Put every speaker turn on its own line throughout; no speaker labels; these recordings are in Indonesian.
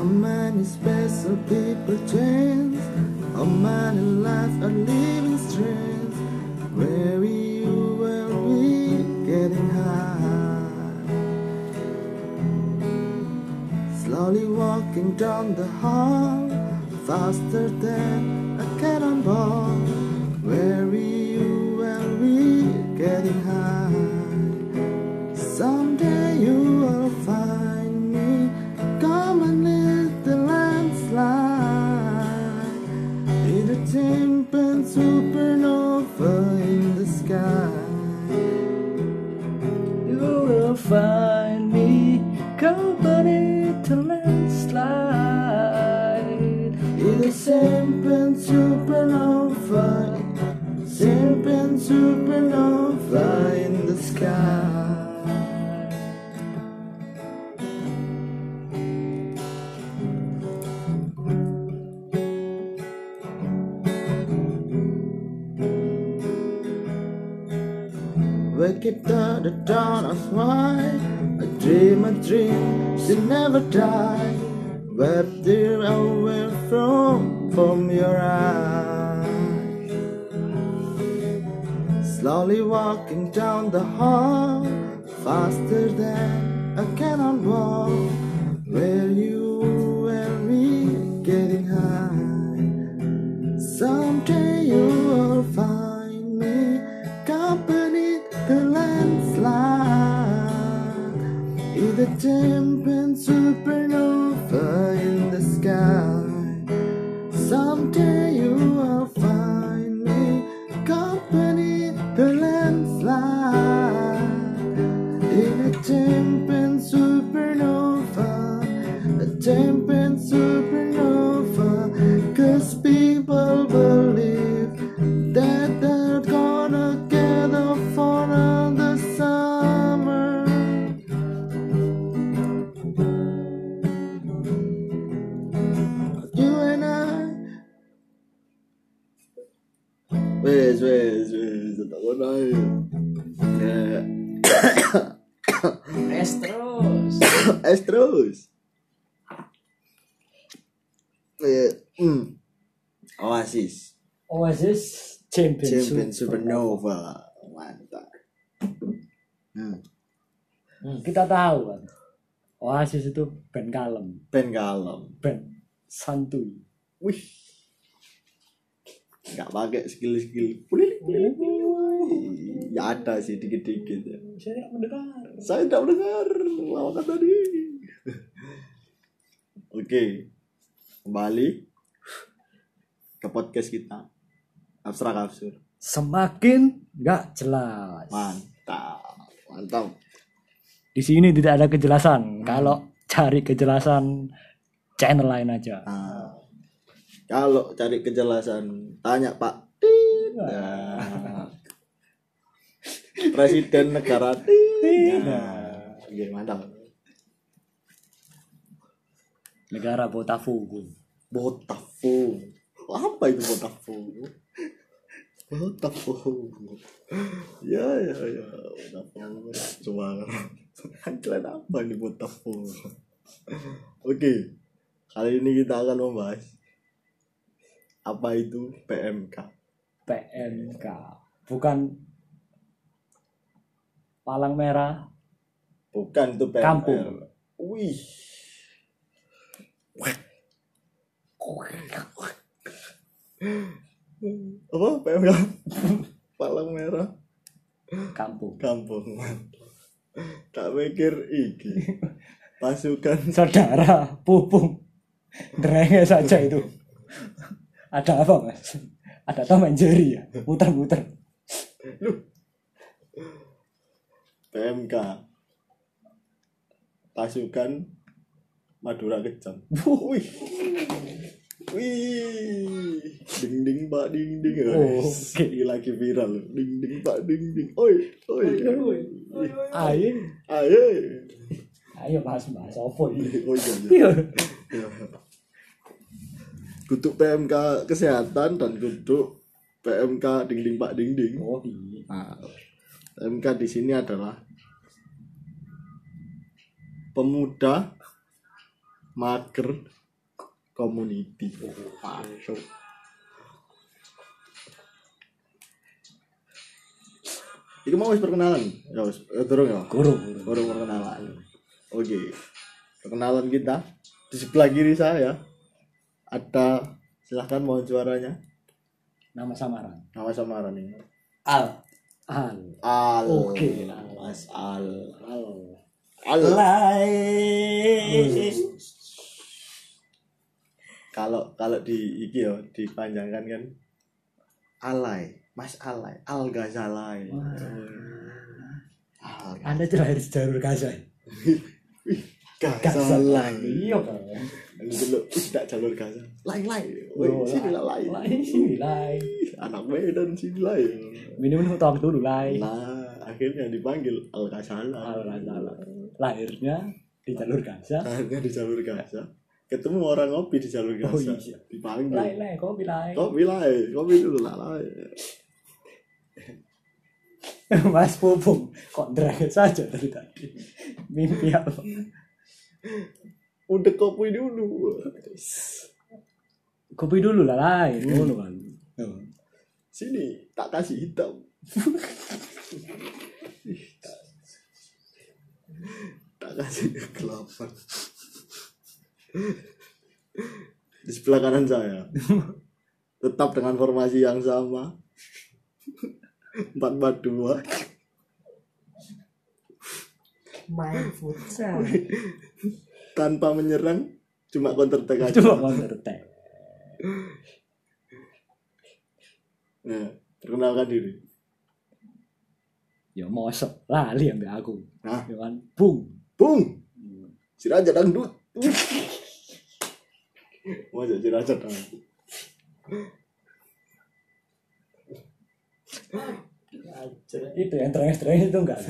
any special people chance. All my life are living strange. Where you will be getting high. Slowly walking down the hall, faster than a cannonball. Where you will be getting high. Someday you will find me coming in the landslide in a timpan supernova in the sky. You will find me company to landslide in a simpan supernova Simpan supernova in the sky. Wake up to the dawn of light. I dream a dream, she never die. Wept tear away from from your eyes. Slowly walking down the hall, faster than a cannonball. Where you were we getting high. Someday you will find me company the landslide in the champion supernova in the sky. Someday you will find me company the landslide in a champion supernova a champion supernova Cause people believe That they're gonna get up for another summer You and I Wes, Wes, Wes Tak guna ya
Es terus.
Es terus Ya, hmm. Oasis
Oasis Champion,
Champion
Supernova.
Supernova mantap hmm.
Hmm, kita tahu kan. Oasis itu band kalem,
band kalem
band santuy.
wih nggak pakai skill skill Pulih, pulih, pulih. ya ada sih dikit dikit ya
Saya tidak mendengar.
saya tidak mendengar lawakan tadi oke kembali ke podcast kita abstrak absurd
Semakin nggak jelas.
mantap mantap
Di sini tidak ada kejelasan. Kalau cari kejelasan channel lain aja.
Ah. kalau cari kejelasan tanya Pak Tin. Nah. Presiden negara Tin. Nah. Oke, mantap.
Negara Botafogo.
Botafogo. Apa itu Botafogo? Botafogo. Ya ya ya. Botafogo. Cuma kalian apa nih Botafogo? Oke. Kali ini kita akan membahas apa itu PMK.
PMK. Bukan Palang Merah.
Bukan itu PML.
Kampung.
Wih. Apa PMK? Palang merah
Kampung.
kampung. Tak pikir iki. Pasukan
saudara pupung derenge saja itu ada apa mas ada Tom and Jerry ya muter-muter
PMK. Pasukan Madura Kejam. Wih. Wih, ding ding pak ding ding
Oh,
guys. Ini lagi viral, ding ding pak ding ding. Oi, oi, oi.
ayo
Ayo.
ayo mas mas apa ini
Oh iya, iya.
Iya.
Ya. Kutuk PMK kesehatan dan kutuk PMK dinding Pak Dinding.
oh iya
Nah, PMK di sini adalah pemuda mager community masuk Iku mau wis perkenalan ya wis eh, durung ya
Guru.
baru perkenalan oke perkenalan kita di sebelah kiri saya ada silahkan mohon suaranya
Nama samaran.
nama samaran ini
Al. Al.
Al
Oke.
Mas Al
Al.
Al
Lain.
kalau kalau di iki ya dipanjangkan kan Alay Mas Alay Al Ghazalay
Wah.
Al
Anda terakhir di jalur Gaza.
Ghazalay
Iya. Pak.
dulu tidak jalur Gaza lain lain
Oh,
Woi, sini lah
lain.
lain
Lain sini lain.
anak Medan sini lain
Minum utang dulu lain.
Nah, akhirnya dipanggil Al Kasala.
Al Ghazala. Lahirnya di jalur Gaza.
Akhirnya di jalur Gaza. Ketemu orang ngopi di jalur
Oh,
Gaza.
iya.
Dipanggil.
Lain lain kau bilang.
Kopi lai, kopi dulu lah lai.
Mas Pupung kok draget saja dari tadi. Mimpi apa?
Udah kopi dulu.
Kopi dulu lah lain. Ngono kan. Tuh.
Sini, tak kasih hitam. Ih, tak- tak kasih kelapa. Di sebelah kanan saya. Tetap dengan formasi yang sama. 442.
Main futsal.
tanpa menyerang cuma counter attack aja.
Coba counter attack.
Nah, perkenalkan diri.
Ya mosok lali ambek aku.
Nah,
Ya kan. Bung.
bung, Siraja dangdut. Masa Siraja dangdut.
Itu yang terakhir-terakhir itu enggak.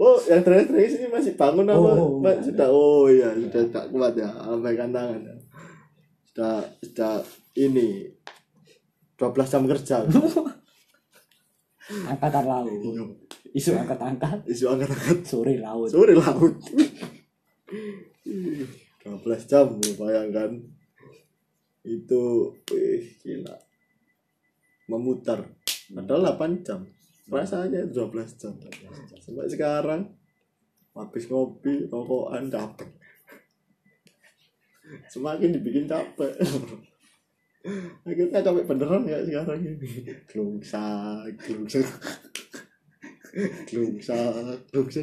Oh, yang terakhir terakhir ini masih bangun apa?
Oh,
Pak,
enggak.
sudah. Oh iya, sudah tak kuat ya. Lambaikan tangan. ya. Sudah sudah ini 12 jam kerja.
Angkatan laut. Isu angkat-angkat,
Isu angkat-angkat
sore laut.
sore laut. 12 jam lu bayangkan. Itu wih, gila. Memutar. Padahal 8 jam. Rasanya 12 jam. Sampai sekarang habis ngopi, rokokan capek. Semakin dibikin capek. Akhirnya capek beneran ya sekarang ini. Klungsa, klungsa. Klungsa, klungsa.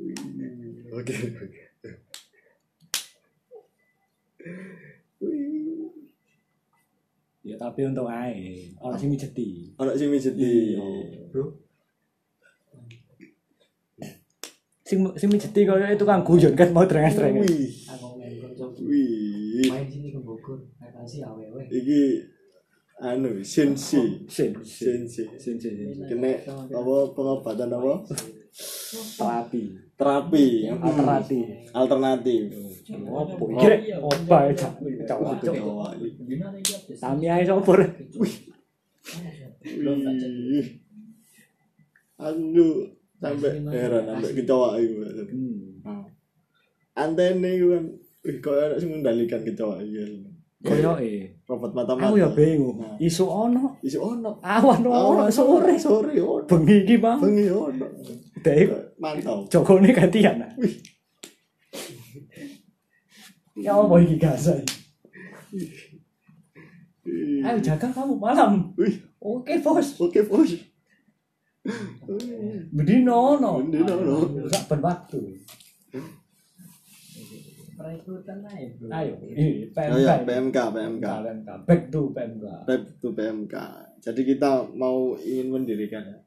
Wih, Oke. oke. Wih.
Ya tapi untuk ae, orang sing mijeti.
Anak Iya. sing mijeti.
Bro. Sing sing mijeti koyo itu kan guyon kan mau terengah-terengah.
Wih.
Aku main konco
Wih.
main sini ke Bogor. Apa sih awewe?
Iki anu sensi.
Sin, sin,
Sensi.
sin, sin, sin.
Kena apa pengobatan apa?
Terapi,
Terapi. Hmm.
alternatif.
Alternatif.
Opo iki? Opo cak. Cak
Waduh,
cak.
awak ini.
Sami ae sopor.
Wih. Aku tuh sampai heran sampai kecoa iku.
Hmm.
Antene iku kan wih kok enak sing ngendalikan kecoa iki.
Koyo e.
Robot mata-mata.
Aku ya bingung.
Iya. Nah.
Isu ono,
Isu ono.
awan ono, sore.
sore ono.
Bengi iki, Bang.
Bengi ono.
Dek
Mantap.
Jokone gantian ah.
Wih.
Ya apa iki gasai?
Wih.
Ayo jaga kamu malam.
Wih.
Oke, Bos.
Oke, bos.
Bedino ono.
Bedino ono.
Sak ben waktu.
Perekrutan ae, Bro.
Ayo, ini
Oh ya,
PMK.
PMK, PMK.
PMK. Back to PMK.
Back to PMK. Jadi kita mau ingin mendirikan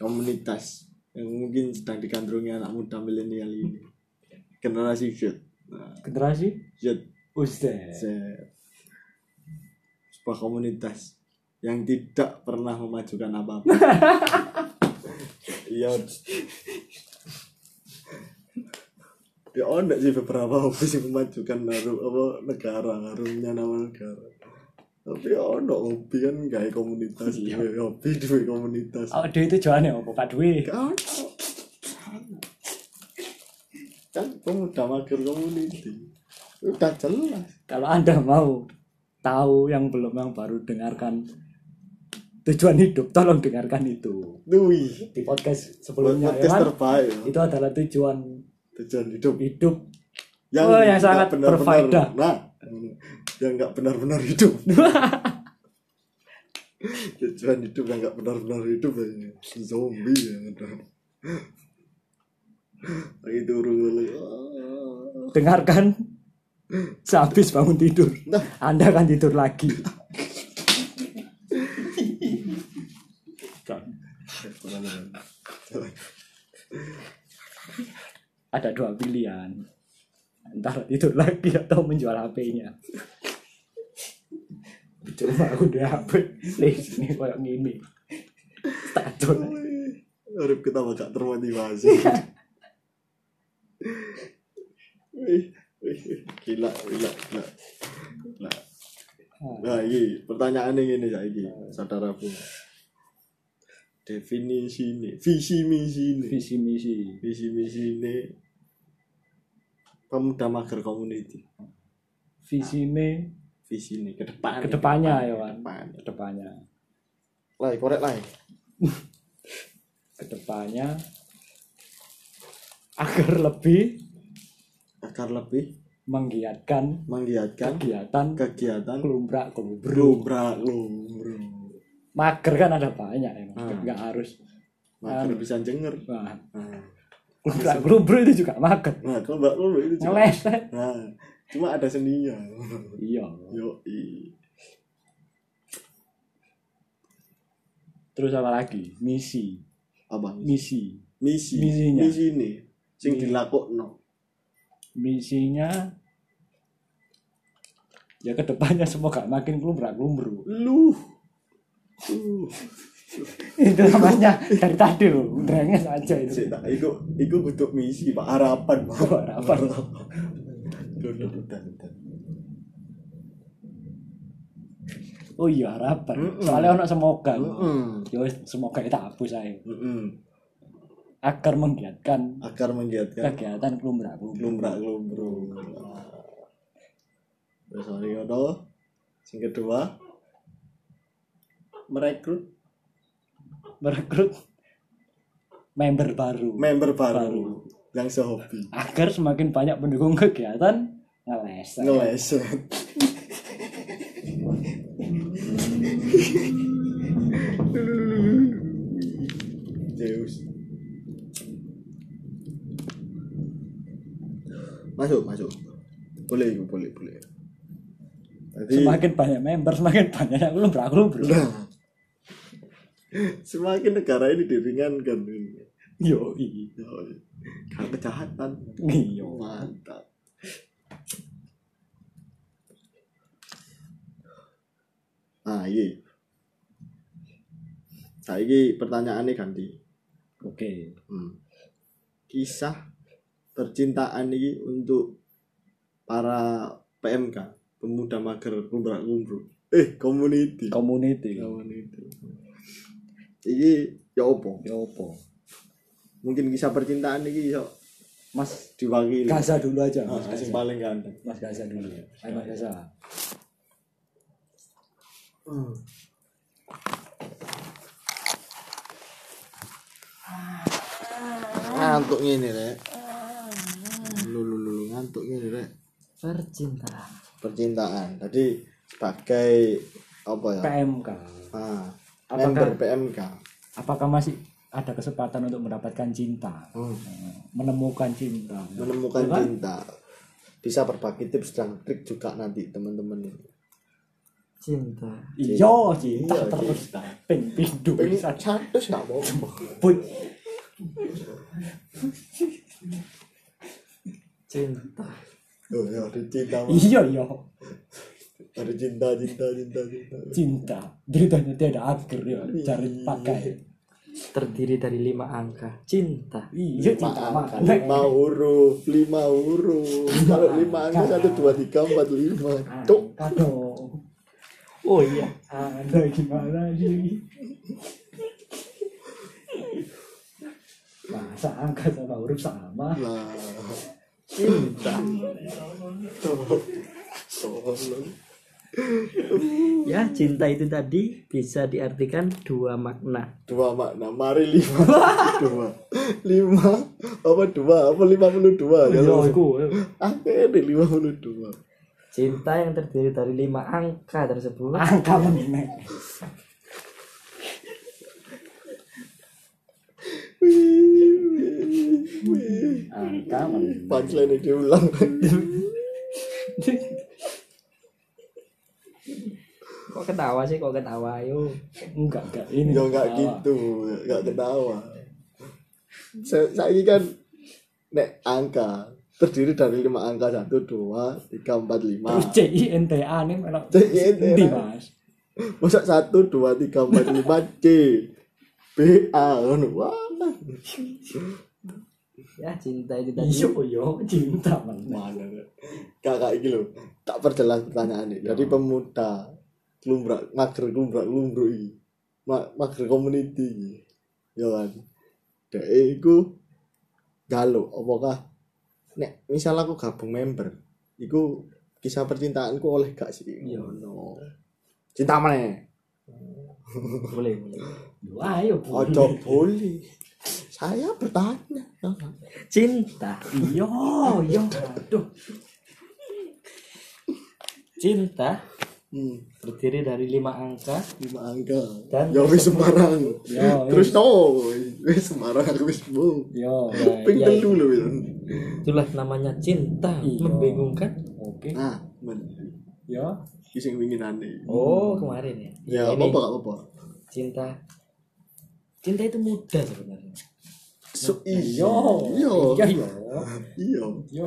komunitas yang mungkin sedang digandrungi anak muda milenial ini. Generasi Z. Nah,
Generasi
Z, Z.
Ustaz.
Sebuah komunitas yang tidak pernah memajukan apa-apa. Iya. Ya ada sih beberapa apa sih memajukan harum apa negara harumnya nama negara. Tapi ono hobi kan gak komunitas,
Iya.
duwe hobi duwe komunitas.
Oh, dia itu tujuannya apa? Pak Dwi.
Gak ono. Kan pemuda mager community. Udah jelas.
Kalau Anda mau tahu yang belum yang baru dengarkan tujuan hidup, tolong dengarkan itu
Duwi.
di podcast sebelumnya. ya
Podcast
kan?
terbaik.
Itu adalah tujuan
Tujuan hidup
hidup
yang,
Oh, yang
nggak
sangat
benar-benar-
berfaedah.
Nah, yang nggak benar-benar hidup. Tujuan hidup yang nggak benar-benar hidup ya. Zombie ya. Lagi turun dulu.
dengarkan sehabis bangun tidur
Nah.
anda akan tidur lagi
Ah.
ada dua pilihan antara tidur lagi atau menjual HP-nya cuma aku udah HP Nih, ini kayak gini stacon
Harap kita bakal termotivasi. Wih, wih, wih. gila, gila, gila. Nah, nah ini pertanyaan ini saiki, saudaraku. Definisi ini, visi misi ini,
visi misi
visi misi ini. Pemuda mager community,
visi ini
visi Nah, ini ke depan.
kedepannya ya
Wan.
Wan kedepannya
Lah, korek lah.
kedepannya agar lebih
Agar lebih
menggiatkan
menggiatkan
kegiatan
kegiatan
kelumbrak kelubru
Lumbra, lumbra.
mager kan ada banyak ya
Hmm.
nggak harus
Mager
Anu.
bisa jenger. Nah,
nah, kelumbrak kelubru itu juga mager
nah kalau Mbak Lulu itu juga.
ngeleset
Nah, cuma ada seninya.
iya
Yo,
terus apa lagi misi
apa?
misi
Misi.
Misinya.
Misi ini sing
Misi.
dilakokno.
misinya ya kedepannya semoga makin kelumbrak kelumbru
Lu. Uh,
itu namanya dari tadi loh drengnya saja itu
sik tak iku iku kudu misi, Pak. Harapan, Pak.
Oh, harapan.
Duh, duh, duh, duh, duh.
oh iya harapan
Mm-mm.
soalnya ono semoga
Mm-mm.
ya wis, semoga kita hapus saya
Mm-mm.
agar menggiatkan
Akar menggiatkan Nah.
kegiatan kelumbrak kelumbru
lumbra lumbru. Terus mari ngono. Sing kedua merekrut
merekrut member baru
member baru,
Baru.
yang sehobi
agar semakin banyak pendukung kegiatan ngeles
ngeles Zeus masuk masuk boleh Ibu, boleh boleh Tadi-
semakin banyak member semakin banyak yang belum bro
Nah. semakin negara ini diringankan
yo i
karena kejahatan
yo
mantap ah iya saiki pertanyaannya ganti
oke
hmm. kisah percintaan ini untuk para PMK pemuda mager kumbrak kumbru eh community
community
community ini ya opo
yo opo
mungkin kisah percintaan ini iso
mas
diwakili
Gaza dulu aja mas
Ah, sing
Gaza
paling ganteng
mas Gaza dulu ya. Ayo, mas Gaza
ngantuk ngene rek lu lu lu lu, ngantuk ngene rek
percintaan
percintaan tadi sebagai apa ya
PMK
ah,
Apakah-
member PMK
apakah masih ada kesempatan untuk mendapatkan cinta menemukan cinta
menemukan
Oh. Apa?
cinta bisa berbagi tips dan trik juga nanti teman-teman
cinta
Iya, cinta
Iya,
terus
cinta.
ping pindu
pengen
bisa
satu nggak mau
cabut.
cinta
oh, ya, ada cinta Mas.
Iya, iya.
ada cinta cinta cinta cinta
Cinta. Ceritanya tidak akhir ya, cari pakai.
terdiri dari lima angka cinta
Iya,
lima
cinta
angka,
makan.
lima huruf lima huruf kalau lima angka satu dua tiga empat lima cuk
Aduh.
oh iya
Anda gimana sih? Masa angka sama huruf sama?
Nah, cinta
Ya, cinta itu tadi bisa diartikan dua makna.
dua makna mari lima dua lima apa dua apa lima puluh
Oh,
dua
iya.
Iya,
kalau akhirnya lima puluh dua
Cinta yang terdiri dari lima angka tersebut
angka menek angka menek
punchline ini diulang
Kok ketawa sih, kok ketawa yuk
enggak enggak ini
ya nggak gitu nggak ketawa saya, saya ini kan nek angka terdiri dari lima angka satu dua tiga empat lima
terus C I N T A nih malah
CINTA.
Di, mas
masa satu dua tiga empat lima C B A kan wah
Ya, cinta itu tadi
iyo yo cinta menek
mana kakak ini loh tak perjelas pertanyaan ini dari pemuda lumbrak mager lumbrak lumbruk ini Ma- mager community ini ya kan dek iku galau apakah nek misal aku gabung member iku kisah percintaanku oleh gak sih
Iya.
Ya, no cinta mana
boleh, boleh.
Yo, ayo
ojo boleh saya bertanya ya kan?
Cinta,
iyo yo aduh
cinta
hmm,
terdiri dari lima angka.
lima angka
Dan-
ya wis sembarang
Ya,
terus no wis sembarang aku wis bu
yo
ping
iya,
telu lho wis.
Itulah namanya cinta.
Iya.
Membingungkan.
oke
nah men
yo
iki sing winginane
Oh, kemarin ya.
ya
Ini
apa apa apa
Cinta. Cinta itu mudah sebenarnya.
so iya
yo
iya
iya yo
iya
yo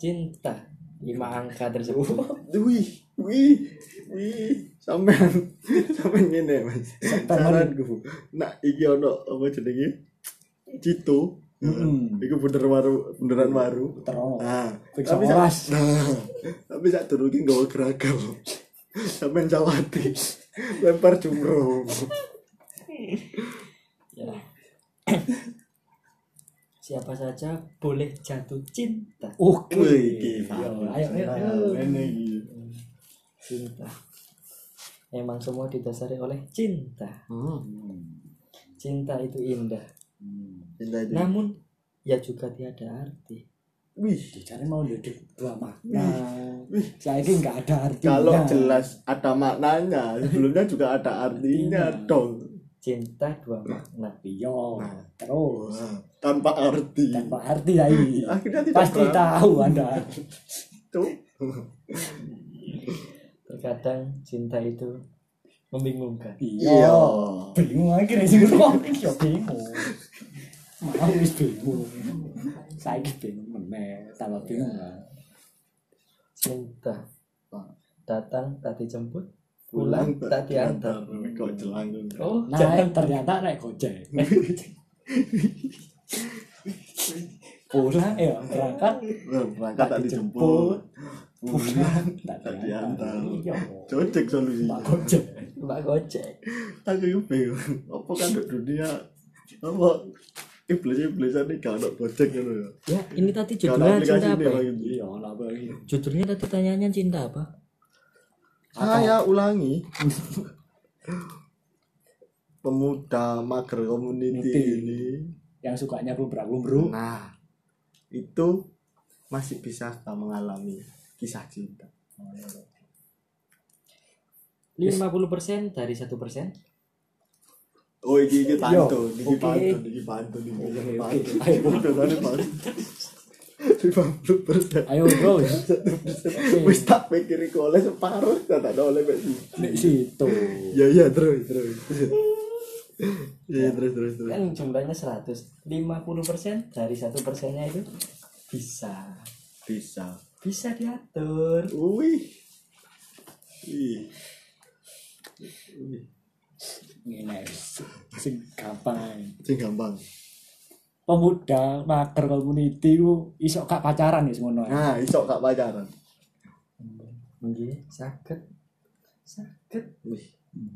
Cinta lima angka tersebut.
wih wih wih sampean sampean ngene mas saranku nah iki ono apa jenenge Cito
Mm-mm.
Iku bener waru, beneran waru.
terus
Nah,
Fiksa
sak-
waras.
nah, tapi sak durunge nggawa geragam. Sampeyan cawati. Lempar jumroh.
Ya. Siapa saja boleh jatuh cinta.
oke
Wih, iki.
Yo, ayo ayo ayo.
Ngene iki.
Cinta. Memang semua didasari oleh cinta.
Hmm.
Cinta itu indah.
Cinta itu.
Namun ya juga tiada arti.
Wih,
Jadi mau duduk dua makna. Saya ini nggak ada artinya.
kalau jelas ada maknanya, sebelumnya juga ada artinya dong.
Cinta dua makna.
Iya, terus
Wah, Tanpa arti.
tanpa arti lagi.
Akhirnya tidak
Pasti
paham.
tahu anda.
Tuh.
Terkadang cinta itu membingungkan.
Iya. Bingung akhirnya sih kok. Iya bingung. Mau wis bingung. Saya ini bingung meneh. Tambah bingung lah.
Cinta datang tak dijemput,
Pulang
pulang tak diantar.
Kok jelang.
Oh,
Nah, ternyata naik gojek. Pulang ya, berangkat.
Berangkat tak
Tak
dijemput.
dijemput.
Pulang tak
Tak
diantar.
diantar. Iya.
Cocok solusinya.
Pak gojek.
Mbak Gojek.
aku itu bingung apa kan di dunia apa iblis iblisnya ini gak ada gojek gitu ya
Ya, ini tadi
gak ada
judulnya
aplikasi
cinta
ini
apa? ya?
lagi
Iya, lah lagi.
Judulnya tadi tanyanya cinta apa?
saya ulangi pemuda mager community
Ngerti.
ini
Yang sukanya lumbruk-lumbruk.
nah itu masih bisa kita mengalami kisah cinta
50% dari 1%.
oh ini ini pantun
Yo,
ini
oke.
pantun ini pantun ini ini pantun
Ayo.
ini pantun lima puluh persen
Ayo, bro.
wis tak pikir iku oleh separuh tak tak oleh mek siji.
Nek situ.
Ya ya terus terus. Ya terus terus terus.
Kan jumlahnya 100. 50% dari 1%-nya itu bisa.
Bisa.
Bisa diatur.
Wih. Ih.
Ngene. Sing gampang.
Sing gampang.
Pemuda mager community ku iso gak pacaran ya semono. ya.
Nah, iso gak pacaran.
Nggih, sakit. Sakit.
Wih.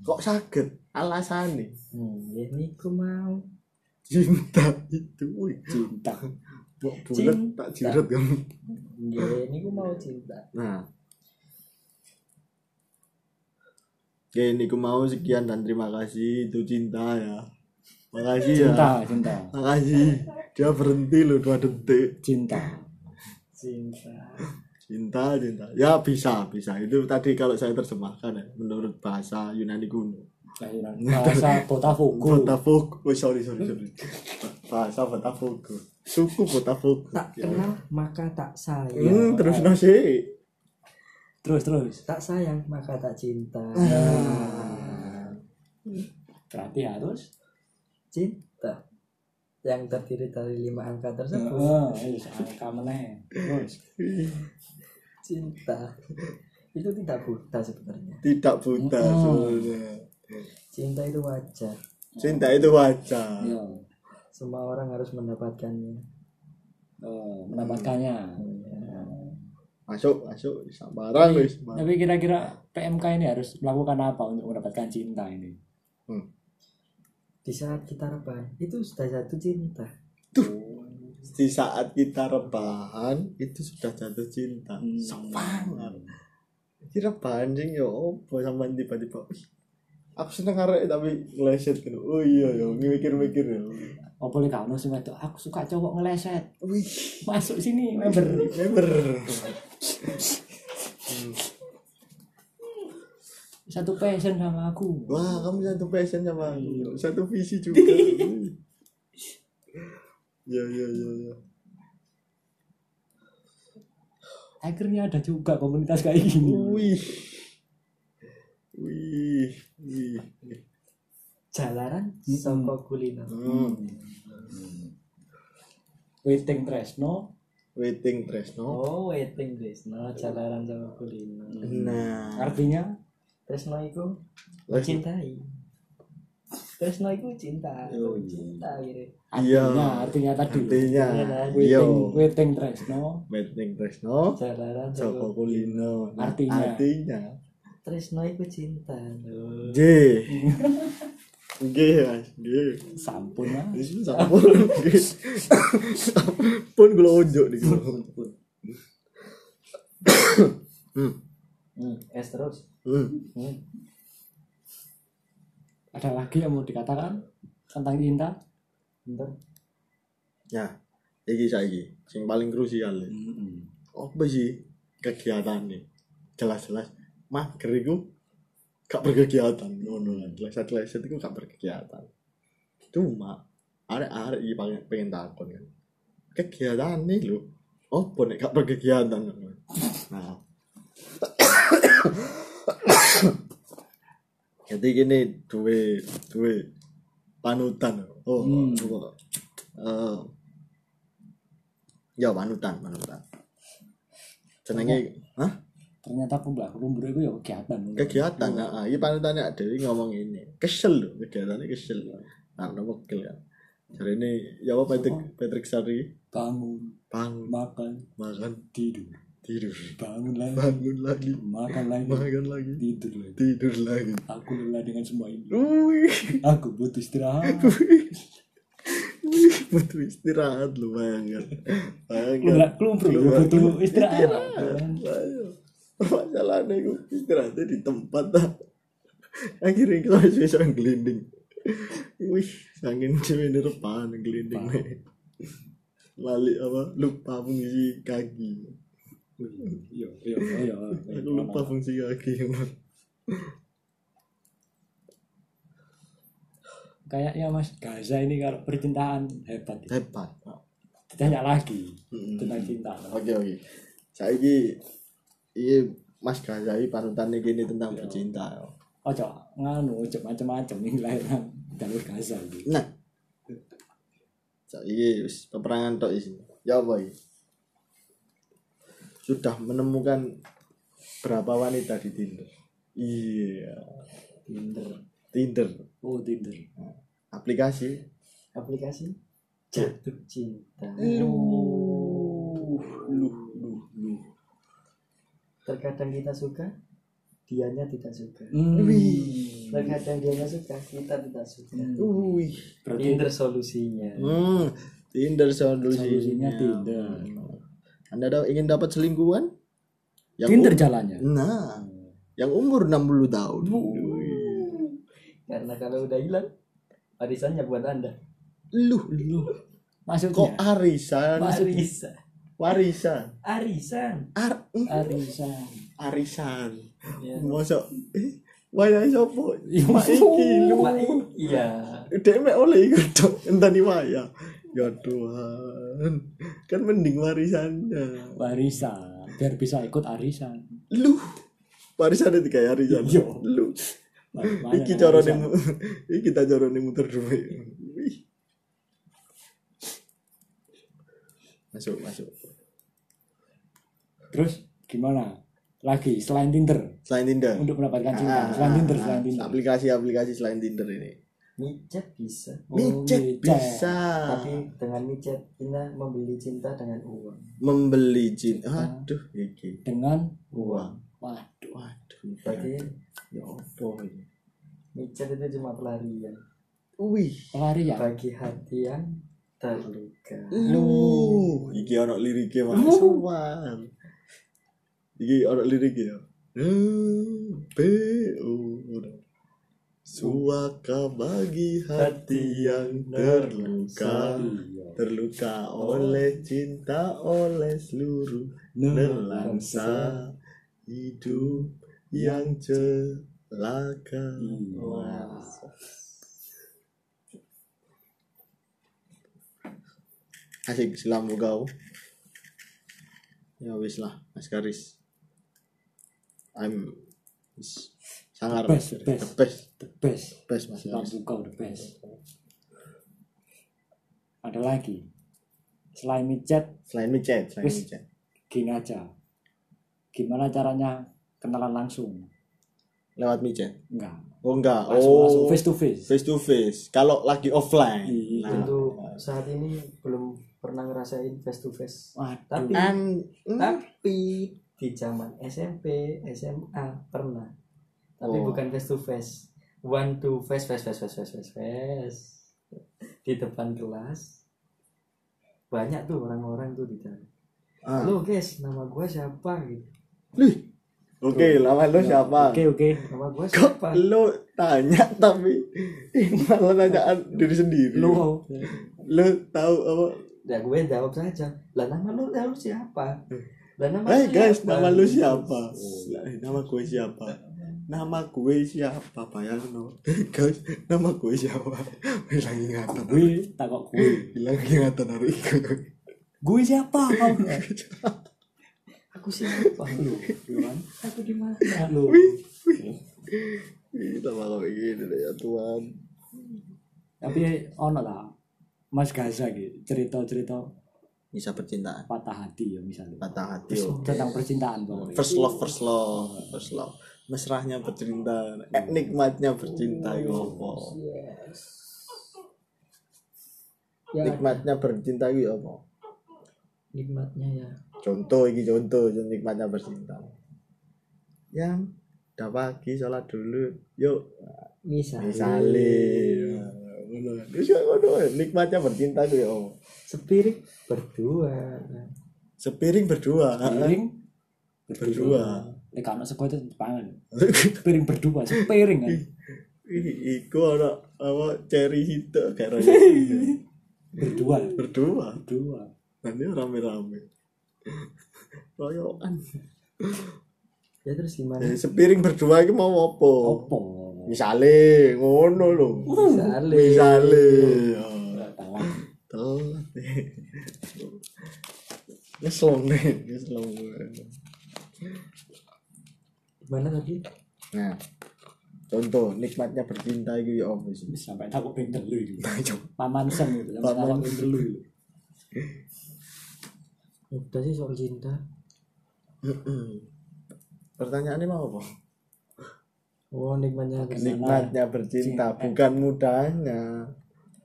Kok saged? Alasane
Nggih niku mau.
cinta itu wih.
Cinta.
Mau bulat tak jirat kamu.
Nggih, niku mau cinta.
Nah. Oke, niku Ya, mau sekian dan terima kasih itu cinta ya. Makasih ya.
cinta cinta
Makasih. Dia berhenti loh dua detik.
cinta
Cinta.
Cinta, cinta. Ya bisa, bisa. Itu tadi kalau saya terjemahkan ya, menurut bahasa Yunani kuno.
Kelahiran. bahasa Botafogo
Botafogo. Oh, sorry, sorry, sorry. Bahasa Botafogo. Suku Botafogo.
Tak kenal maka tak sayang.
Iya.
Hmm, terus no sih.
terus terus
Tak sayang maka tak cinta.
Ah. berarti harus
Cinta yang terdiri dari lima angka tersebut.
Heeh, wis Oh, iya, angka meneh. Terus
Cinta itu tidak buta sebenarnya.
Tidak buta
Mm-mm.
sebenarnya.
Cinta itu wajar.
Cinta itu wajar.
yo
Semua orang harus mendapatkannya.
eh, mendapatkannya.
Masuk, masuk. Sabaran wis.
Tapi kira-kira PMK ini harus melakukan apa untuk mendapatkan cinta ini?
Hmm.
Di saat kita rebahan itu sudah jatuh cinta.
Di saat kita rebahan itu sudah jatuh cinta.
Hmm.
Semangat. Kita rebahan sing yo opo sampean tiba-tiba. "Wih, Aku seneng arek tapi ngeleset gitu. Oh iya yo mikir-mikir yo.
Apa Oh, boleh kamu sih itu? Aku suka cowok ngeleset.
Wih,
Masuk sini member.
member.
Satu passion sama aku.
Wah, kamu satu passion sama aku. Satu visi juga. Ya ya ya ya.
Akhirnya ada juga komunitas kayak gini.
Wih. Wih, wih.
Jalaran saka kuliner.
Hmm.
Waiting Tresno.
Waiting Tresno.
Oh, waiting Tresno, jalaran sama kuliner.
Nah,
Artinya
Tresno iku
Tresno.
mencintai. Tresno iku cinta,
Yo, iya.
cinta gitu.
Iya.
artinya Nah, artinya tadi.
artinya Iya.
Waiting
yo
Waiting Tresno.
Waiting Tresno.
Jalaran
Joko
sama
Kulino. Nah,
Artinya.
Artinya.
Tresno iku cinta. Loh.
J. G mas, G.
Sampun lah.
Ini sampun, G. Pun gue ojo di gitu.
Hmm, es terus.
Hmm.
Hmm.
Ada lagi yang mau dikatakan tentang cinta?
Bentar.
Ya, iki saiki sing paling krusial. nih. Apa sih kegiatan nih? Jelas-jelas mager iku gak berkegiatan ngono lah. Jelas-jelas iku gak berkegiatan. Cuma arek-arek iki pengen, pengen takon kan. Kegiatan nih lho. Apa nek gak berkegiatan Nah. Jadi gini duwe duwe panutan. Oh,
Hmm.
coba. Eh, ya panutan, panutan. Jenenge, hah?
ternyata aku mbak kumpul itu ya kegiatan
kegiatan nah, ah, iya panutannya ada yang ngomong ini kesel loh kegiatannya kesel nah udah wakil ya hari ini ya apa Patrick Patrick Sari Oh.
bangun
bangun
makan
makan
tidur
tidur
bangun lagi
bangun lagi
makan lagi
makan lagi
tidur lagi
tidur lagi
aku lelah dengan semua ini
Wih,
aku butuh istirahat
Iya. wih, butuh istirahat lu bayangkan bayangkan
lelah kelumpur
Iya.
butuh istirahat
masalahnya gue istirahatnya di tempat ah. akhirnya kita masih bisa gelinding wih saking cewek di depan gelinding nih lali apa lupa fungsi kaki
iya iya iya
aku lupa fungsi kaki
kayaknya mas Gaza ini kalau percintaan hebat
hebat
ditanya lagi
Mm-mm.
tentang cinta
oke oke saya ini iya mas Gazali panutannya gini
Iya.
tentang bercinta yo.
ojo nganu ojo macam-macam ini lahiran ya. jalur Gaza ini
nah saya ini wis peperangan tok isi ya apa ini? sudah menemukan berapa wanita di Tinder iya
Tinder.
Tinder
oh Tinder
aplikasi
Aplikasi jatuh cinta.
lu lu lu
Terkadang kita suka, dianya tidak suka.
Hmm. Wih.
Hmm. Terkadang dianya suka, kita tidak suka.
wih
Berarti
Tinder solusinya.
hmm Tinder solusinya. Hmm.
Solusinya Tinder.
Anda da- ingin dapat selingkuhan? Yang
Tinder
um-
jalannya.
Nah, yang umur 60 tahun.
Karena kalau udah hilang Arisannya buat anda
Lu kok
Maksudnya
arisan?
Maksudnya
Arisan
Warisan.
Arisan
Ar
Arisan.
arisan.
Ya.
Mosok eh wayahe sapa?
Ya,
Mak Iya, iki lu.
Mak, Iya
Dek mek oleh iku tok enteni waya. Ya Tuhan. Kan mending warisannya.
Warisan biar bisa ikut arisan.
Lu warisannya tiga hari jan.
Iya.
Lu
Mana
iki
kan
carane
arisan?
mu- iki kita carane muter duit. Wih. Masuk, masuk.
Terus gimana? Lagi selain Tinder
Selain Tinder.
untuk mendapatkan
Ah,
cinta, selain Tinder,
ah,
selain Tinder.
Aplikasi-aplikasi selain Tinder ini.
Micet bisa
Oh,
Micet
micet.
bisa.
Tapi dengan micet Ina membeli cinta dengan uang
Membeli jin. Aduh, iki.
Dengan
Uang
waduh.
Waduh.
Berarti
Ya opo ini?
micet itu cuma pelarian
Wih.
Pelarian.
Bagi hati yang terluka
Lu, iki ana liriknya masukan. Iki ana ya. liriknya. BO Suaka bagi hati yang terluka
Iya.
Terluka oleh cinta oleh seluruh nelangsa Hidup yang celaka
Wah.
Asik silammu kau. Ya wis lah, Mas Karis. I'm wis sangar
The best, the
the
best.
best,
The best.
the best, Mas Karis.
Lampu kau the best. Ada lagi. Selain micet,
Selain micet, selain
Wis.
micet.
gini aja. Gimana caranya kenalan langsung?
Lewat micet.
Enggak.
Oh enggak.
Langsung,
oh.
langsung face to face.
Face to face. Kalau lagi offline.
Iya.
Nah,
Tentu saat ini belum pernah ngerasain face to face
Waduh.
Tapi-
an mm,
tapi di zaman SMP SMA pernah tapi
Oh.
bukan face to face one to face face face face face face face di depan kelas banyak tuh orang-orang tuh di dalam
ah.
lo guys nama gue siapa gitu
Lih. Oke, lawan lo siapa?
Oke oke.
nama gue
Kok
siapa
lo tanya tapi malah nanya diri sendiri.
Lu oh.
Lo, lo tahu apa?
ya gue jawab saja lah nama lu tahu siapa lah nama
Hai
lu
guys,
siapa?" Oh, iya.
nama lu siapa? Eh, Nama gue siapa? Nama gue siapa? Bayangin no. Guys, nama gue siapa? Bilang ingatan.
gue takut gue.
Bilang ingatan hari itu.
Gue siapa kau?
aku siapa
Lu, lu kan?
aku di mana
Lu.
Ih, Nama gue gini deh, ya Tuhan.
Tapi ono lah. Mas Gaza gitu cerita-cerita
Bisa percintaan.
patah hati ya misalnya.
Patah hati.
Terus tentang percintaan pokoknya.
First love, first love, first love. Mesrahnya percintaan, eh, nikmatnya percinta iku apa?
Oh, yes ya
Nikmatnya bercinta iku ya apa?
nikmatnya ya
Contoh iki contoh contoh nikmatnya bercinta. Yang udah pagi sholat dulu, yuk
misalnya
misalnya Iya, terus kayak ngono ya, nikmatnya bercinta tuh ya Om.
sepiring berdua
sepiring berdua
piring
berdua
Eh kalau sego itu pangan. Piring berdua, sepiring kan.
Ih, iku ana apa ceri itu karo
Berdua,
berdua
berdua.
nanti rame-rame royokan
ya terus gimana
Eh, sepiring berdua itu mau apa
Opo.
misalnya ngono lho
Misalnya.
misalnya Ya,
Tawang.
telat ngeslong nih ngeslong
gimana tadi
Nah, contoh nikmatnya bercinta itu ya apa sih?
sampai takut pinter lu itu.
Ayo,
Paman sen itu sampai
Paman
takut pinter lu. itu.
udah sih soal cinta
Pertanyaannya mau apa?
oh nikmatnya
Oke.
Nikmatnya bercinta, bukan mudahnya.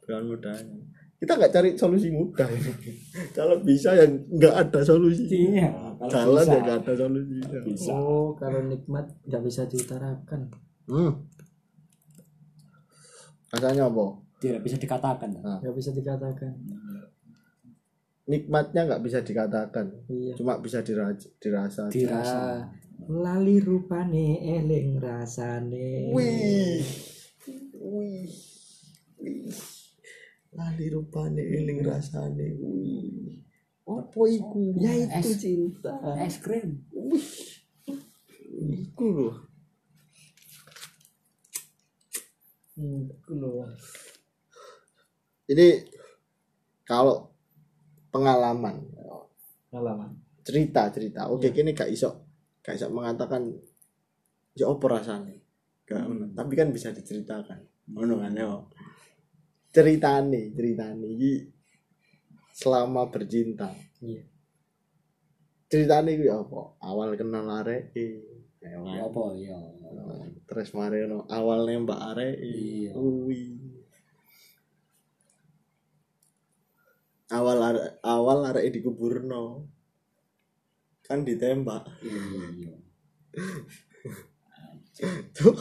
Bukan mudahnya. Kita nggak cari solusi mudah ini. Kalau bisa ya nggak ada solusinya.
Iya, kalau
Jalan
bisa.
ya nggak ada solusinya.
Bisa.
oh kalau nikmat nggak bisa diutarakan
Hmm. Rasanya apa?
Tidak bisa dikatakan.
Nah.
nggak bisa dikatakan
nikmatnya nggak bisa dikatakan
Iya.
cuma bisa diraj- dirasa aja.
dirasa
Lali rupane eling rasane.
wih wih wih lali rupane eling rasane wih apa iku
Ya itu
Es-
cinta.
es krim
iku loh
Hmm, itu loh.
jadi kalau pengalaman
Pengalaman.
cerita cerita oke kini gak iso gak iso mengatakan ya apa rasanya gak ono. tapi kan bisa diceritakan ngono kan yo ceritane ceritane iki selama bercinta
Iya.
ceritane iki apa awal kenal arek ya kan?
ya apa ya
terus mari ono awal nembak eh, arek
Iya.
kuwi awal are, awal arek dikuburno kan ditembak
iya
tuh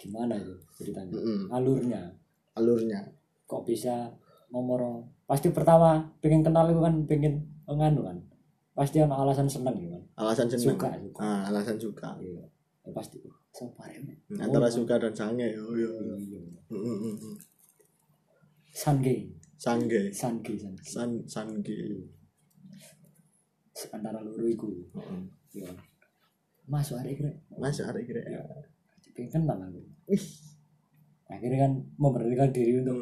gimana itu ceritanya
Mm-mm.
alurnya
alurnya
kok bisa ngomong pasti pertama pengen kenal itu kan pengen nganu kan pasti ada alasan seneng gitu kan
alasan seneng
Suka, suka.
Ah, alasan suka
iya Ya pasti uh, sabar ya Nek.
antara
Oh,
suka dan sange oh, iya.
iya.
Mm, mm, mm.
sange
sange
sange sange
san sange
antara loro iku ya masuk hari kira
mas arek kira
Iya. pengen kenal aku
wih
akhirnya kan memberanikan diri untuk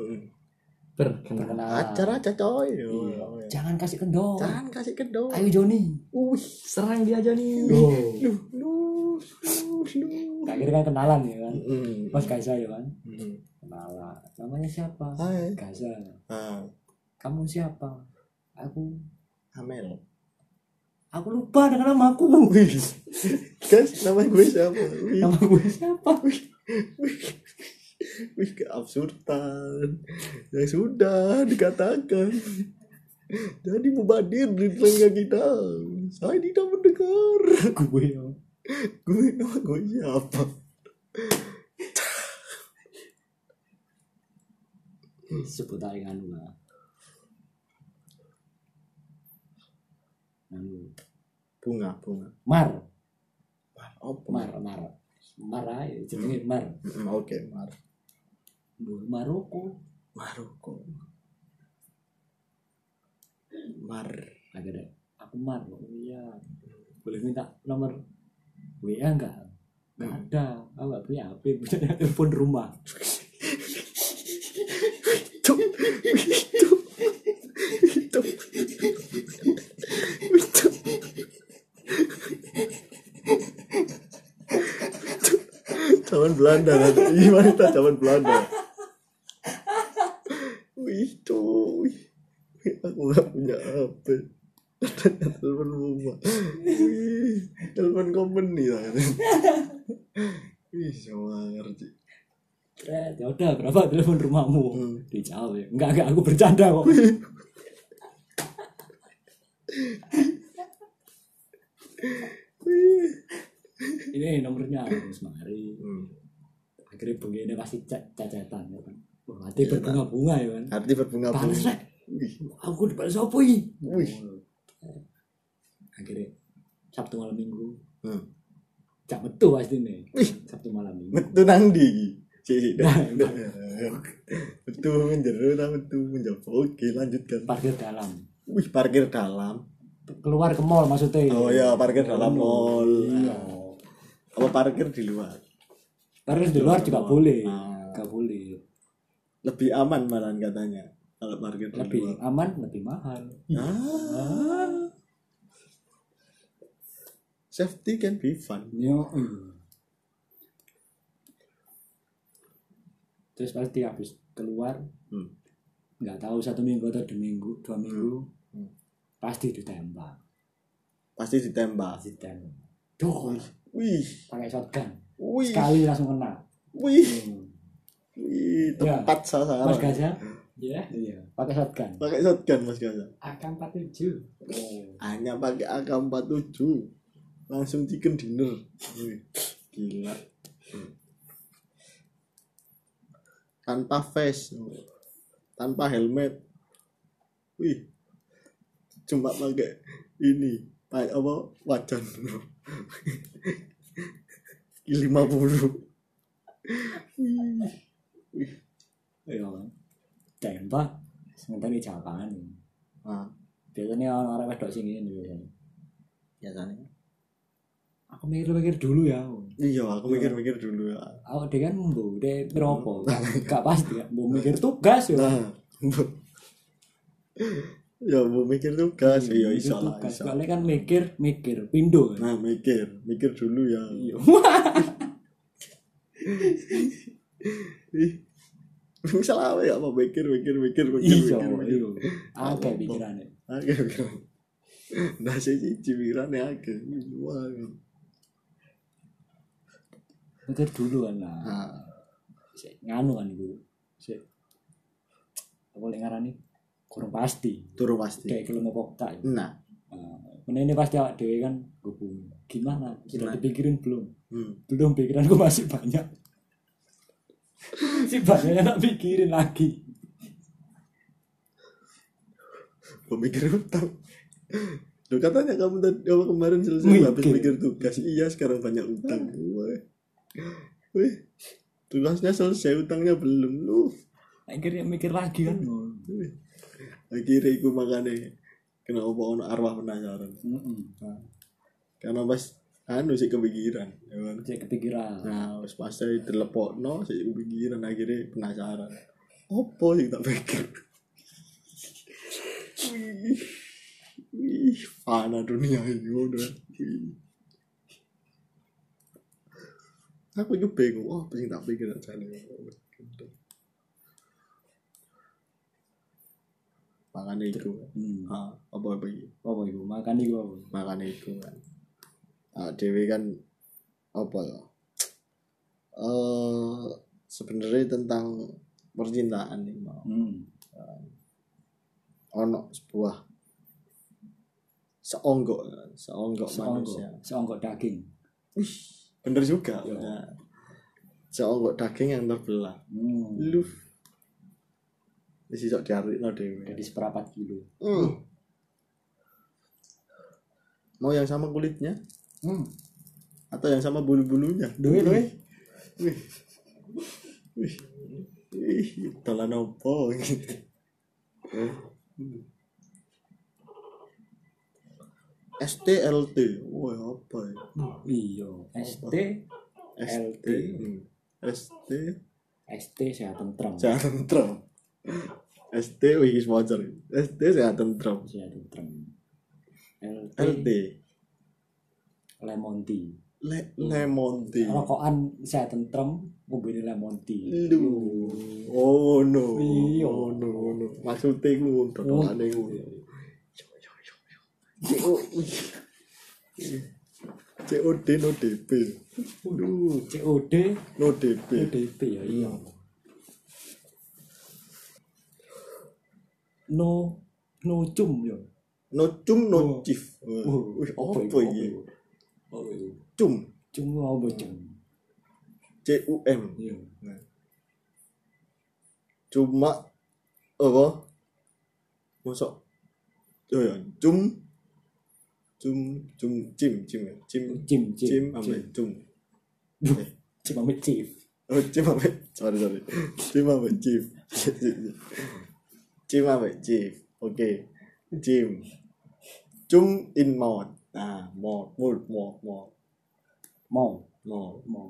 Berkenalan.
berkenalan
Hmm. Ah. acara aja coy Oh,
Iya.
iya.
jangan kasih kendor
jangan kasih kedok
ayo Joni
wih
Serang dia aja nih.
duh duh duh duh
akhirnya kan kenalan ya kan
Mm.
mas Gaza ya kan
Mm.
kenalan namanya siapa
Hai.
Gaza
Ah,
kamu siapa aku
Amel.
aku lupa dengan nama aku
Guys, nama gue siapa? Wih,
nama gue siapa
wih keabsurdan. Ya sudah dikatakan. Jadi mubadir di telinga kita. Saya tidak mendengar.
gue ya.
Gue nama gue siapa?
sebut aja kan, nganu lah nganu
Bunga, bunga.
Anu, mar
Oh,
mar mar mar aja jenenge mar
Mm, Oke, Mar.
Mbok Maroko
Maroko. Mar.
akhirnya aku mar oh iya boleh minta nomor WA enggak
Hmm.
enggak ada aku enggak punya HP punya telepon rumah
Cuk. Cuk. Cuk. Cuk. Zaman Belanda nanti. Ih, wanita zaman Belanda. Wih, cuy. Wih, Aku gak punya HP. telepon rumah. Wih, telepon company lah. Wih, sama ngerti.
Tret, ya udah berapa telepon rumahmu
Hmm.
dijawab ya enggak enggak aku bercanda kok
Wih.
ini nomornya harus mari
Hmm.
akhirnya begini pasti cek cecetan ya kan Wah, hati berbunga-bunga ya kan
Arti berbunga-bunga.
balas rek
Wih,
aku di balas apa ini
Wih.
akhirnya sabtu malam minggu
Hmm.
cak metu pasti nih
Wih.
sabtu malam minggu
metu nang ndi iki? Sik sik. dah,
Nah,
dah. Metu menjeru ta metu menjawab. Oke, lanjutkan.
parkir dalam
Wih, parkir dalam.
keluar ke mall maksudnya
Oh ya, parkir dalam mall.
iya
Apa parkir di luar?
parkir di luar juga boleh
Ah.
nggak boleh
Lebih aman malahan katanya kalau parkir di
lebih
luar.
aman lebih mahal
Ah. Safety can be fun.
Yo,
iya.
terus pasti habis keluar
Hmm.
nggak tahu satu minggu atau dua minggu dua minggu
Hmm.
pasti ditembak
Pasti ditembak.
pasti ditembak Duh,
Wih,
pakai shotgun
wih,
sekali langsung kena
wih,
Hmm.
wih,
Ya.
tepat
mas
sasaran.
Gaza
Ya.
iya pakai shotgun
Pakai shotgun Mas Gaza.
Akan 47.
Iya. hanya pakai AK47 langsung chicken dinner Wih, gila tanpa face tanpa helmet wih cuma pakai ini pakai apa wajan lima puluh
iya kan tembak sementara jawaban
Ah.
nah,
biasanya orang-orang wedok sing ngene biasanya
biasanya
aku mikir-mikir dulu ya
iya aku mikir-mikir dulu ya
aku dia kan mbo dia meropo gak pasti kan mbo mikir tugas ya
nah ya mau mikir tugas iya iso lah
Tugas.
iso
soalnya kan mikir mikir pindo kan
nah mikir mikir dulu ya
iya
ih salah apa ya mau mikir mikir mikir mikir
iya
mikir mikir
iya agak pikirannya
Oke, oke. Nah, sih sih cibiran ya, oke. Wah,
mikir dulu kan lah
Nah,
Sik, nganu kan iku Sik. apa lek ngarani kurang pasti
turu pasti.
kayak kalau mau tak
Nah,
Nah, ini pasti awak dewe kan hubung. Gimana? Sudah
Gimana?
dipikirin belum?
hmm.
Belum pikiranku masih banyak. si banyak yang nak pikirin lagi.
pemikir utang. Lo katanya kamu tadi kamu kemarin selesai habis
Mikir.
mikir tugas. Iya, sekarang banyak utang. Wah. Wih, tugasnya selesai, utangnya belum lu.
Akhirnya mikir lagi kan.
Wih. Akhirnya aku makanya kenapa ono arwah penasaran.
Heeh.
Karena pas anu sih kepikiran, ya kan?
Saya kepikiran.
Nah, wis pasti dilepokno sik pikiran akhirnya penasaran. Opo sih tak pikir? Wih, wih, fana dunia ini udah. Aku juga bingung, oh, apa sih tak pikir jane. Makane itu.
Hmm.
Ah, apa apa iki?
Apa iku? Makan iku apa?
makanya itu kan ah, Dewi kan apa ya eh sebenarnya tentang percintaan nih mau
Hmm.
ono sebuah seonggok seonggok manusia
Seonggok, seonggok daging.
bener juga
Iya.
ya. seonggok daging yang terbelah
Hmm.
lu bisa diarik lah Dewi
Jadi seperempat kilo.
Hmm. mau yang sama kulitnya
Hmm.
atau yang sama bulu-bulunya
Duwe duwe.
Wih. Wih. Wih, dolan opo gitu. STLT. Woi, apa ya?
Iya. ST
ST.
LT.
Hmm. ST
ST sehat tentrem.
sehat tentrem. ST wih is wajar. ST sehat tentrem.
Sehat tentrem. LT,
LT
lemon tea.
Le lemon tea.
rokokan saya tentrem mobil lemon tea
Lu. Oh no.
Iya.
Oh no no. Maksudnya ngono, dodolane ngono. CO COD no DP Aduh,
COD
no DP
DP ya iya no no cum ya
no cum no
Oh.
chief
Oh,
Wih,
apa
apa
itu, apa
ini
itu? Apa itu?
cum
cum itu apa cum
C U M
iya
cuma apa masuk oh ya cum cum cum cim cim ya cim
cim cim
cim ambil cum
Duh, cim ambil cif
oh cim ambil sorry sorry cim ambil chief cim ambil chief oke cim cum in mouth nah mouth mouth mouth mouth
mau
mouth
mau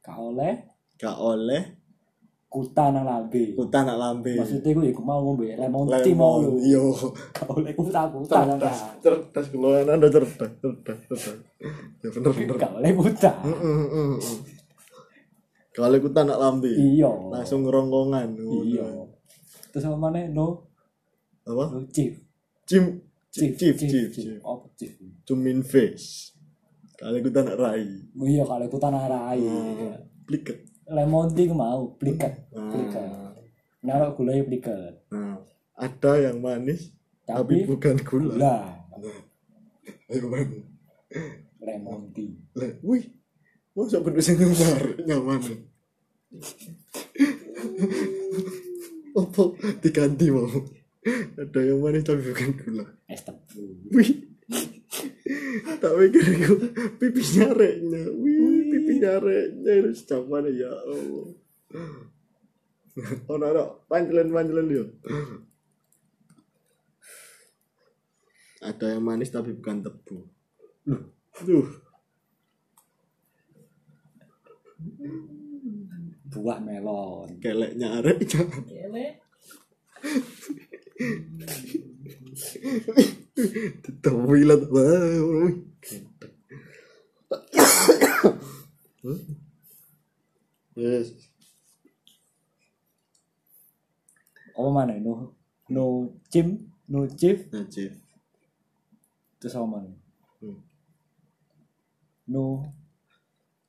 gak oleh
gak oleh
kuta nang lambe
kuta nak lambe
maksudnya gue ya gue mau ngombe lemon
Lemon,
tea mau lho.
yo
gak oleh kuta kuta nang
cerdas
lambe
cerdas keluaran anda cerdas cerdas cerdas ya bener bener
gak oleh kuta
Mm, mm, mm. kalau kuta nak lambe
iya
langsung rongkongan
iya terus apa mana no
apa
no chief
cim
chief
cim cim cim cim
apa chief
cumin face kali kuta nak rai Hmm.
Oh iya kalau aku tanah rai iya.
pliket
lemon tea ku mau pliket
Ah.
pliket naruh gulanya pliket
nah ada yang manis tapi,
Tapi
bukan gula,
gula
Nah. Ayo, mana?
lemon tea
Lah, wih, masa bener sing ngembar nyaman. Opo diganti mau. Ada yang manis tapi bukan gula.
es tebu
Wih. tak pikir aku pipi nyareknya. Wih, pipi nyareknya itu sejak mana ya Allah. Oh, no, no. Panjelan, panjelan dia. Ada yang manis tapi bukan tebu. Loh, Tuh.
buah melon
keleknya areknya. Ditawi lah tak tahu. Yes.
apa mana no no chim no chip
Najib.
terus apa mana
Hmm.
no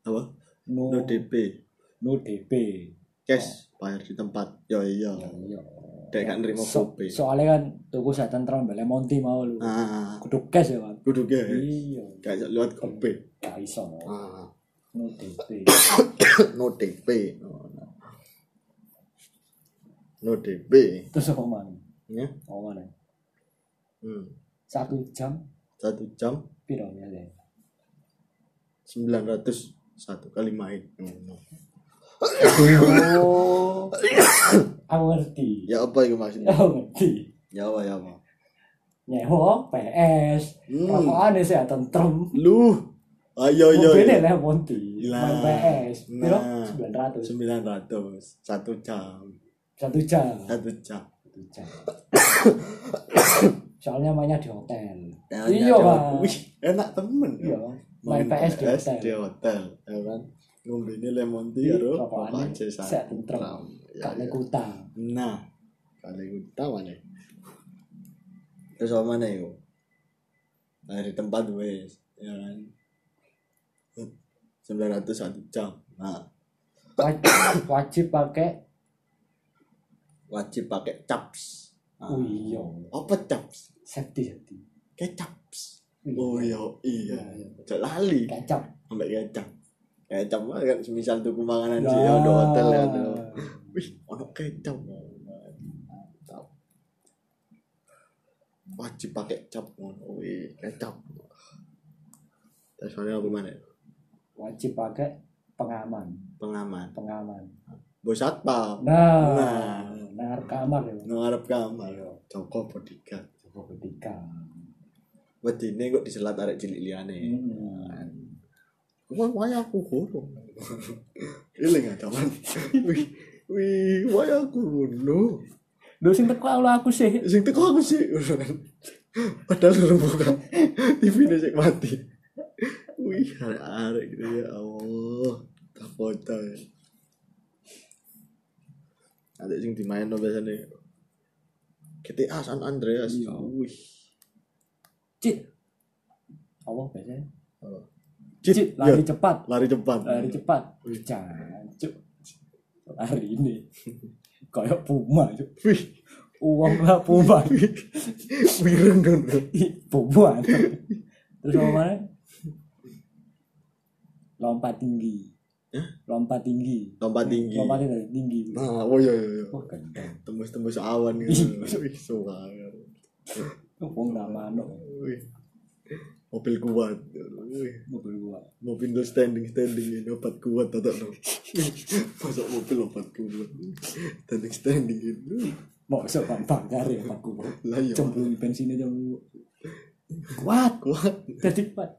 Apa?
no
No DP.
no DP
Cash.
Oh.
Bayar di tempat. Ya iya.
Ya, iya
Dek kan nerima
So-
kopi.
soalnya kan tuku setan terang balik Monty mau lu
Ah.
kudu cash ya kan
Kudu ge.
iya
Kayak lewat kopi.
gak iso no
Ah.
no DP
No DP. No, no. No DP.
terus apa mana
Ya.
apa mana
Hmm.
satu jam
Satu jam
piro ya deh
900 satu kali main. Hmm.
oh aku ngerti
Ya apa itu maksudnya?
aku ngerti
Ya apa ya apa?
nyewa PS
Hmm.
rokokan ya saya tentrem
Lu. Ah, iya, Ayo ayo. ayo.
mobilnya lah Monty
Gila.
main PS
Nah.
Piro? 900
sembilan ratus satu jam
satu jam
satu jam
satu jam soalnya mainnya di hotel
Ya,
iya
ya,
kan
wih enak temen
iya main PS di hotel
di hotel ya kan ngombe ini lemon tea
Iya,
karo
rokokan
pace
ini
satu
set tentrem.
gram. Ya,
gak
ya.
ngekutang
nah kali utama nih terus apa mana yuk dari tempat wes ya kan sembilan ratus satu jam nah
wajib, wajib pakai
wajib pakai caps Nah,
oh iya
apa caps
safety safety
kecaps
Iya.
oh iya iya Cok lali
kecap
sampai kecap kecap mah kan semisal tuku makanan sih
Wah.
ya udah hotel ya tuh wih ono kecap Mantap. wajib pakai cap ngono. wih kecap terus soalnya aku mana
wajib pakai pengaman
pengaman
pengaman
bos satpam Nah.
nah nah kamar ya
ngarep kamar
Iya.
joko bodyguard
coba ketika
wedine kok diselat arek cilik liyane
Nah.
wah wah aku guru ilang ada man wih wih wah aku guru
Duh sing teko kalau aku sih.
sing teko aku sih padahal suruh buka TV ini sik mati wih arek-arek gitu ya Allah tak foto ya ada sing dimain no biasanya GTA San Andreas
Iya.
wih
Cit. Apa biasanya?
Oh.
Cit,
ya.
lari cepat,
lari cepat
lari cepat.
Iya. Wih.
Cancuk. Lari ini. Kayak puma, cuk.
wih
Uang lah puma.
wireng kan bro.
Ih, puma. Terus apa mana? Lompat tinggi. Lompat tinggi.
lompat tinggi
Iya, Lompat dari tinggi.
nah oh iya iya iya.
Wah, gendeng.
tembus-tembus awan gitu
Iya.
wih suka
Wong nama no.
wih mobil kuat wih
Mobil gua.
mobil lo standing standing ini obat kuat tak no masuk mobil obat kuat standing standing itu
Mau sebab banggar ya Pak Gua.
lah ya
Cemplung bensinnya jauh. Kuat.
kuat
jadi Pak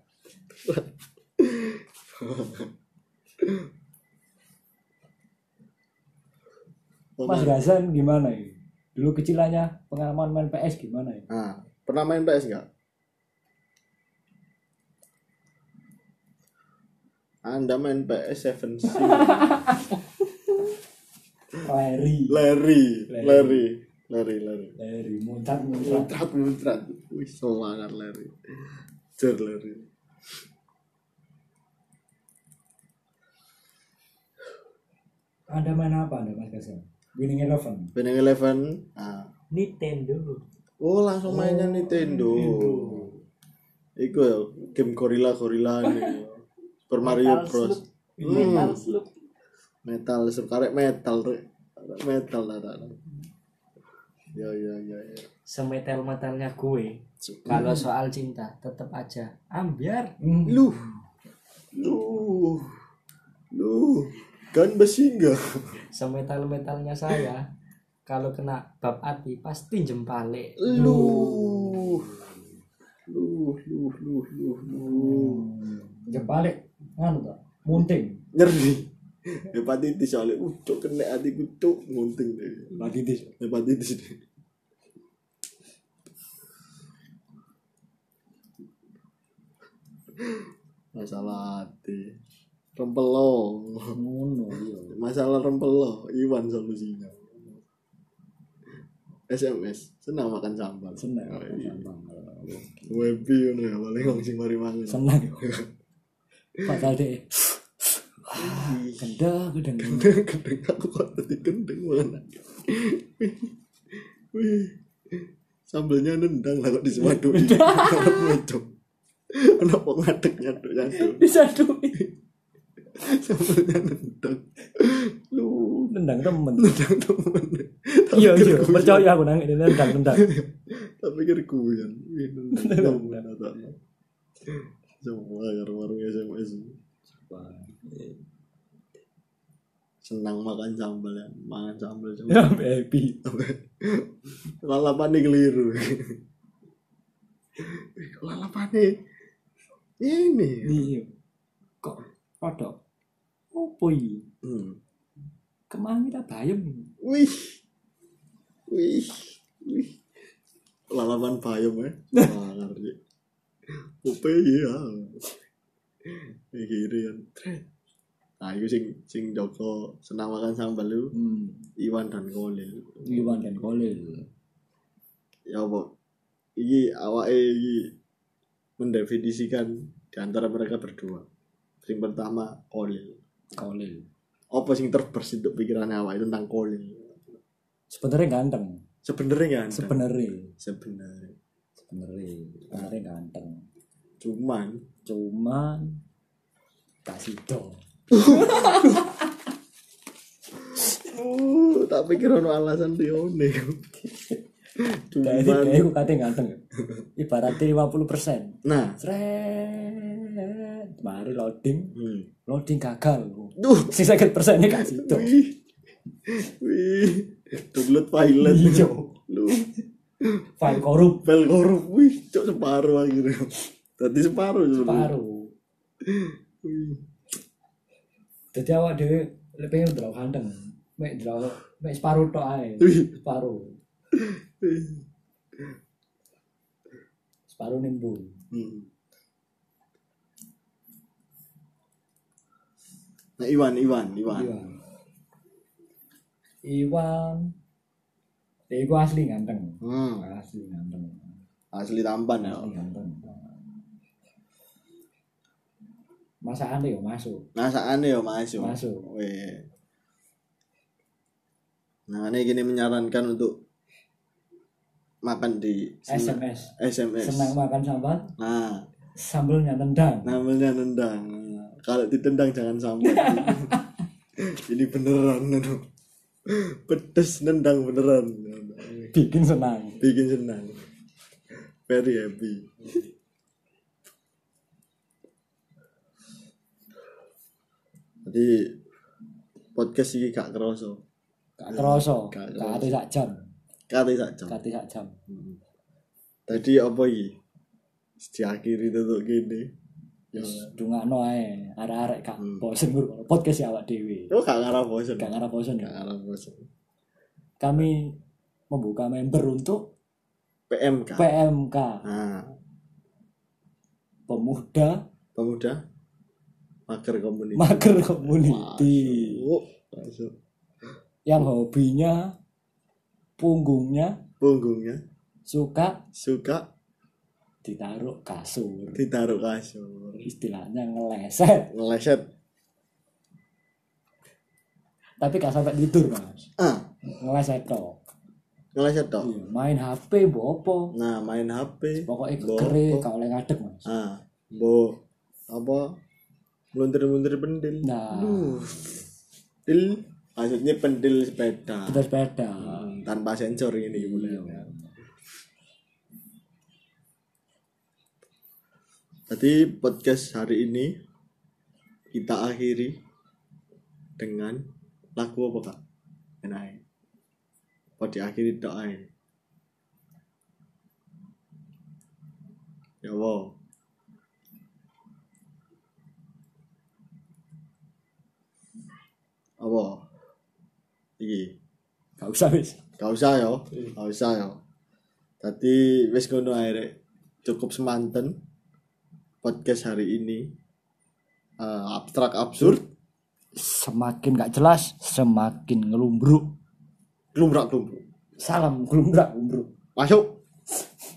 Pemain-
Mas Gazan gimana ya? Dulu kecilannya pengalaman main PS gimana ya?
ah pernah main PS nggak Anda main PS Seven Seas.
Larry,
Larry,
Larry.
Larry, Larry, Larry.
Larry muntah muntah.
Muntrat, muntrat. Wih, semangat Larry. Jer Larry.
Anda main apa Anda Mas Gazan? Winning Eleven.
Winning Eleven. Ah.
Nintendo
Oh, langsung mainnya Nintendo. Iku ya, game gorila gorila ini. Super Mario Bros. Hmm.
Metal Slug
Metal, sekarang metal, rek. Karek metal lah, tak, tak. Ya ya ya ya.
semetel metelnya gue
Su-
kalau soal cinta tetap aja Ah, ambiar
Hmm.
Lu. Lu. Lu. Kan bersinggung.
semetal metalnya saya kalau kena bab ati pasti jempale
Lu. Lu lu lu lu lu.
Hmm. jebalik anu toh munting
Nyeri. Hepatitis soalnya udah kena hati kutuk ngunting deh.
lagi di
Hepatitis deh. Masalah hati. Rempelong.
ngono iya
masalah rempel lo Iwan solusinya SMS senang makan sambal
seneng
Oh, iya.
gampang.
Webi ngono ya paling wong sing mari mangan
seneng padahal deh gendeng gendeng
gendeng gendeng aku kok tadi gendeng malah wih sambalnya nendang lah kok di semadu kenapa ngadek nyaduk nyaduk
bisa tuh
sambalnya nendang lu
nendang temen
nendang temen
iya iya percaya aku nang ini nendang nendang
tak pikir guyon Wih, nendang temen tak semua warung-warung SMS senang makan sambal ya makan sambal
ya
cuma
baby
lalapan nih keliru lalapan nih ini
iya kok padha opo iki
hmm.
kemangi tak bayem
wih wih wih lalapan bayam ya Wah, ngerti upe ya ini kiri kan nah itu sing sing Joko senang makan sambal lu
hmm
Iwan dan Kolil
Iwan Iya, dan Kolil
ya apa iki awake iki mendefinisikan di antara mereka berdua sing pertama kolil
Kolil
apa sing terbersih untuk pikirannya awake tentang kolil
sebenarnya ganteng
sebenarnya kan
sebenarnya
sebenarnya
sebenarnya sebenarnya ganteng
cuman
cuman kasih dong
uh, tak pikir ono alasan dia nih
Kayak
cuman
kayak aku katanya ganteng ibaratnya 50 persen
nah
seret baru loading
hmm.
loading gagal
duh
sisa sekian persennya kasih dong
wih wih download pilot
Iya.
lu
file korup
pel korup wih cok separuh akhirnya tadi separuh sebenarnya.
baru
Wih.
jadi awak dhewe lebih pengen delok ganteng mek delok mek separuh tok ae
Wih.
separuh separuh ning mburi
Hmm. Nah, Iwan, Iwan, Iwan.
Iwan Iwan ya iku asli ganteng
Hmm.
asli ganteng
Asli tampan ya.
asli ganteng masakan deh yo masuk
Nasaane ya masuk.
Masuk.
Weh. Nah, ini gini menyarankan untuk makan di sena-
SMS
SMS.
senang makan sambal
Nah,
sambelnya nendang
namanya nendang. Kalau ditendang jangan sampai. Ini beneran aduh. Pedes nendang beneran.
bikin senang
bikin senang very happy jadi podcast ini gak kerasa
gak kroso
Gak
gak
kerasa.
ati sak jam
kata saja
gak ati sak jam
tadi apa ini diakhiri tutup gini ya
dungakno ae arek-arek gak
Hmm.
bosen ngurung podcast ya awak dhewe
lo gak ngarah bosen
gak ngarep bosen
gak ngarah bosen
kami membuka member untuk
PMK
PMK
nah
pemuda
pemuda mager community
mager community
Masuk, masuk.
yang hobinya punggungnya
punggungnya
suka
suka
ditaruh kasur
ditaruh kasur
istilahnya ngeleset
ngeleset
tapi gak sampai tidur mas
ah
ngeleset tok
ngeleset toh
Iya, main HP bopo
Nah, main HP.
pokoknya
Bo-
kekere
bo-
gak oleh ngadeg mas
Ah, bo apa? Meluntir-meluntir pendil.
Nah.
Duh. Dil. maksudnya pendil sepeda
Putar sepeda. Iya.
tanpa sensor ini mulai Tadi podcast hari ini kita akhiri dengan lagu apa kak? Enak. Apa diakhiri doa Ya wow. Apa? Iki.
Gak usah wis.
Gak usah yo, gak usah yo. Tadi wis ngono ae Rek. Cukup semanten podcast hari ini. Eh, abstrak absurd,
Semakin gak jelas, semakin ngelumbruk.
lumrah lumrah.
Salam ngelumbruk, umbruk.
Masuk.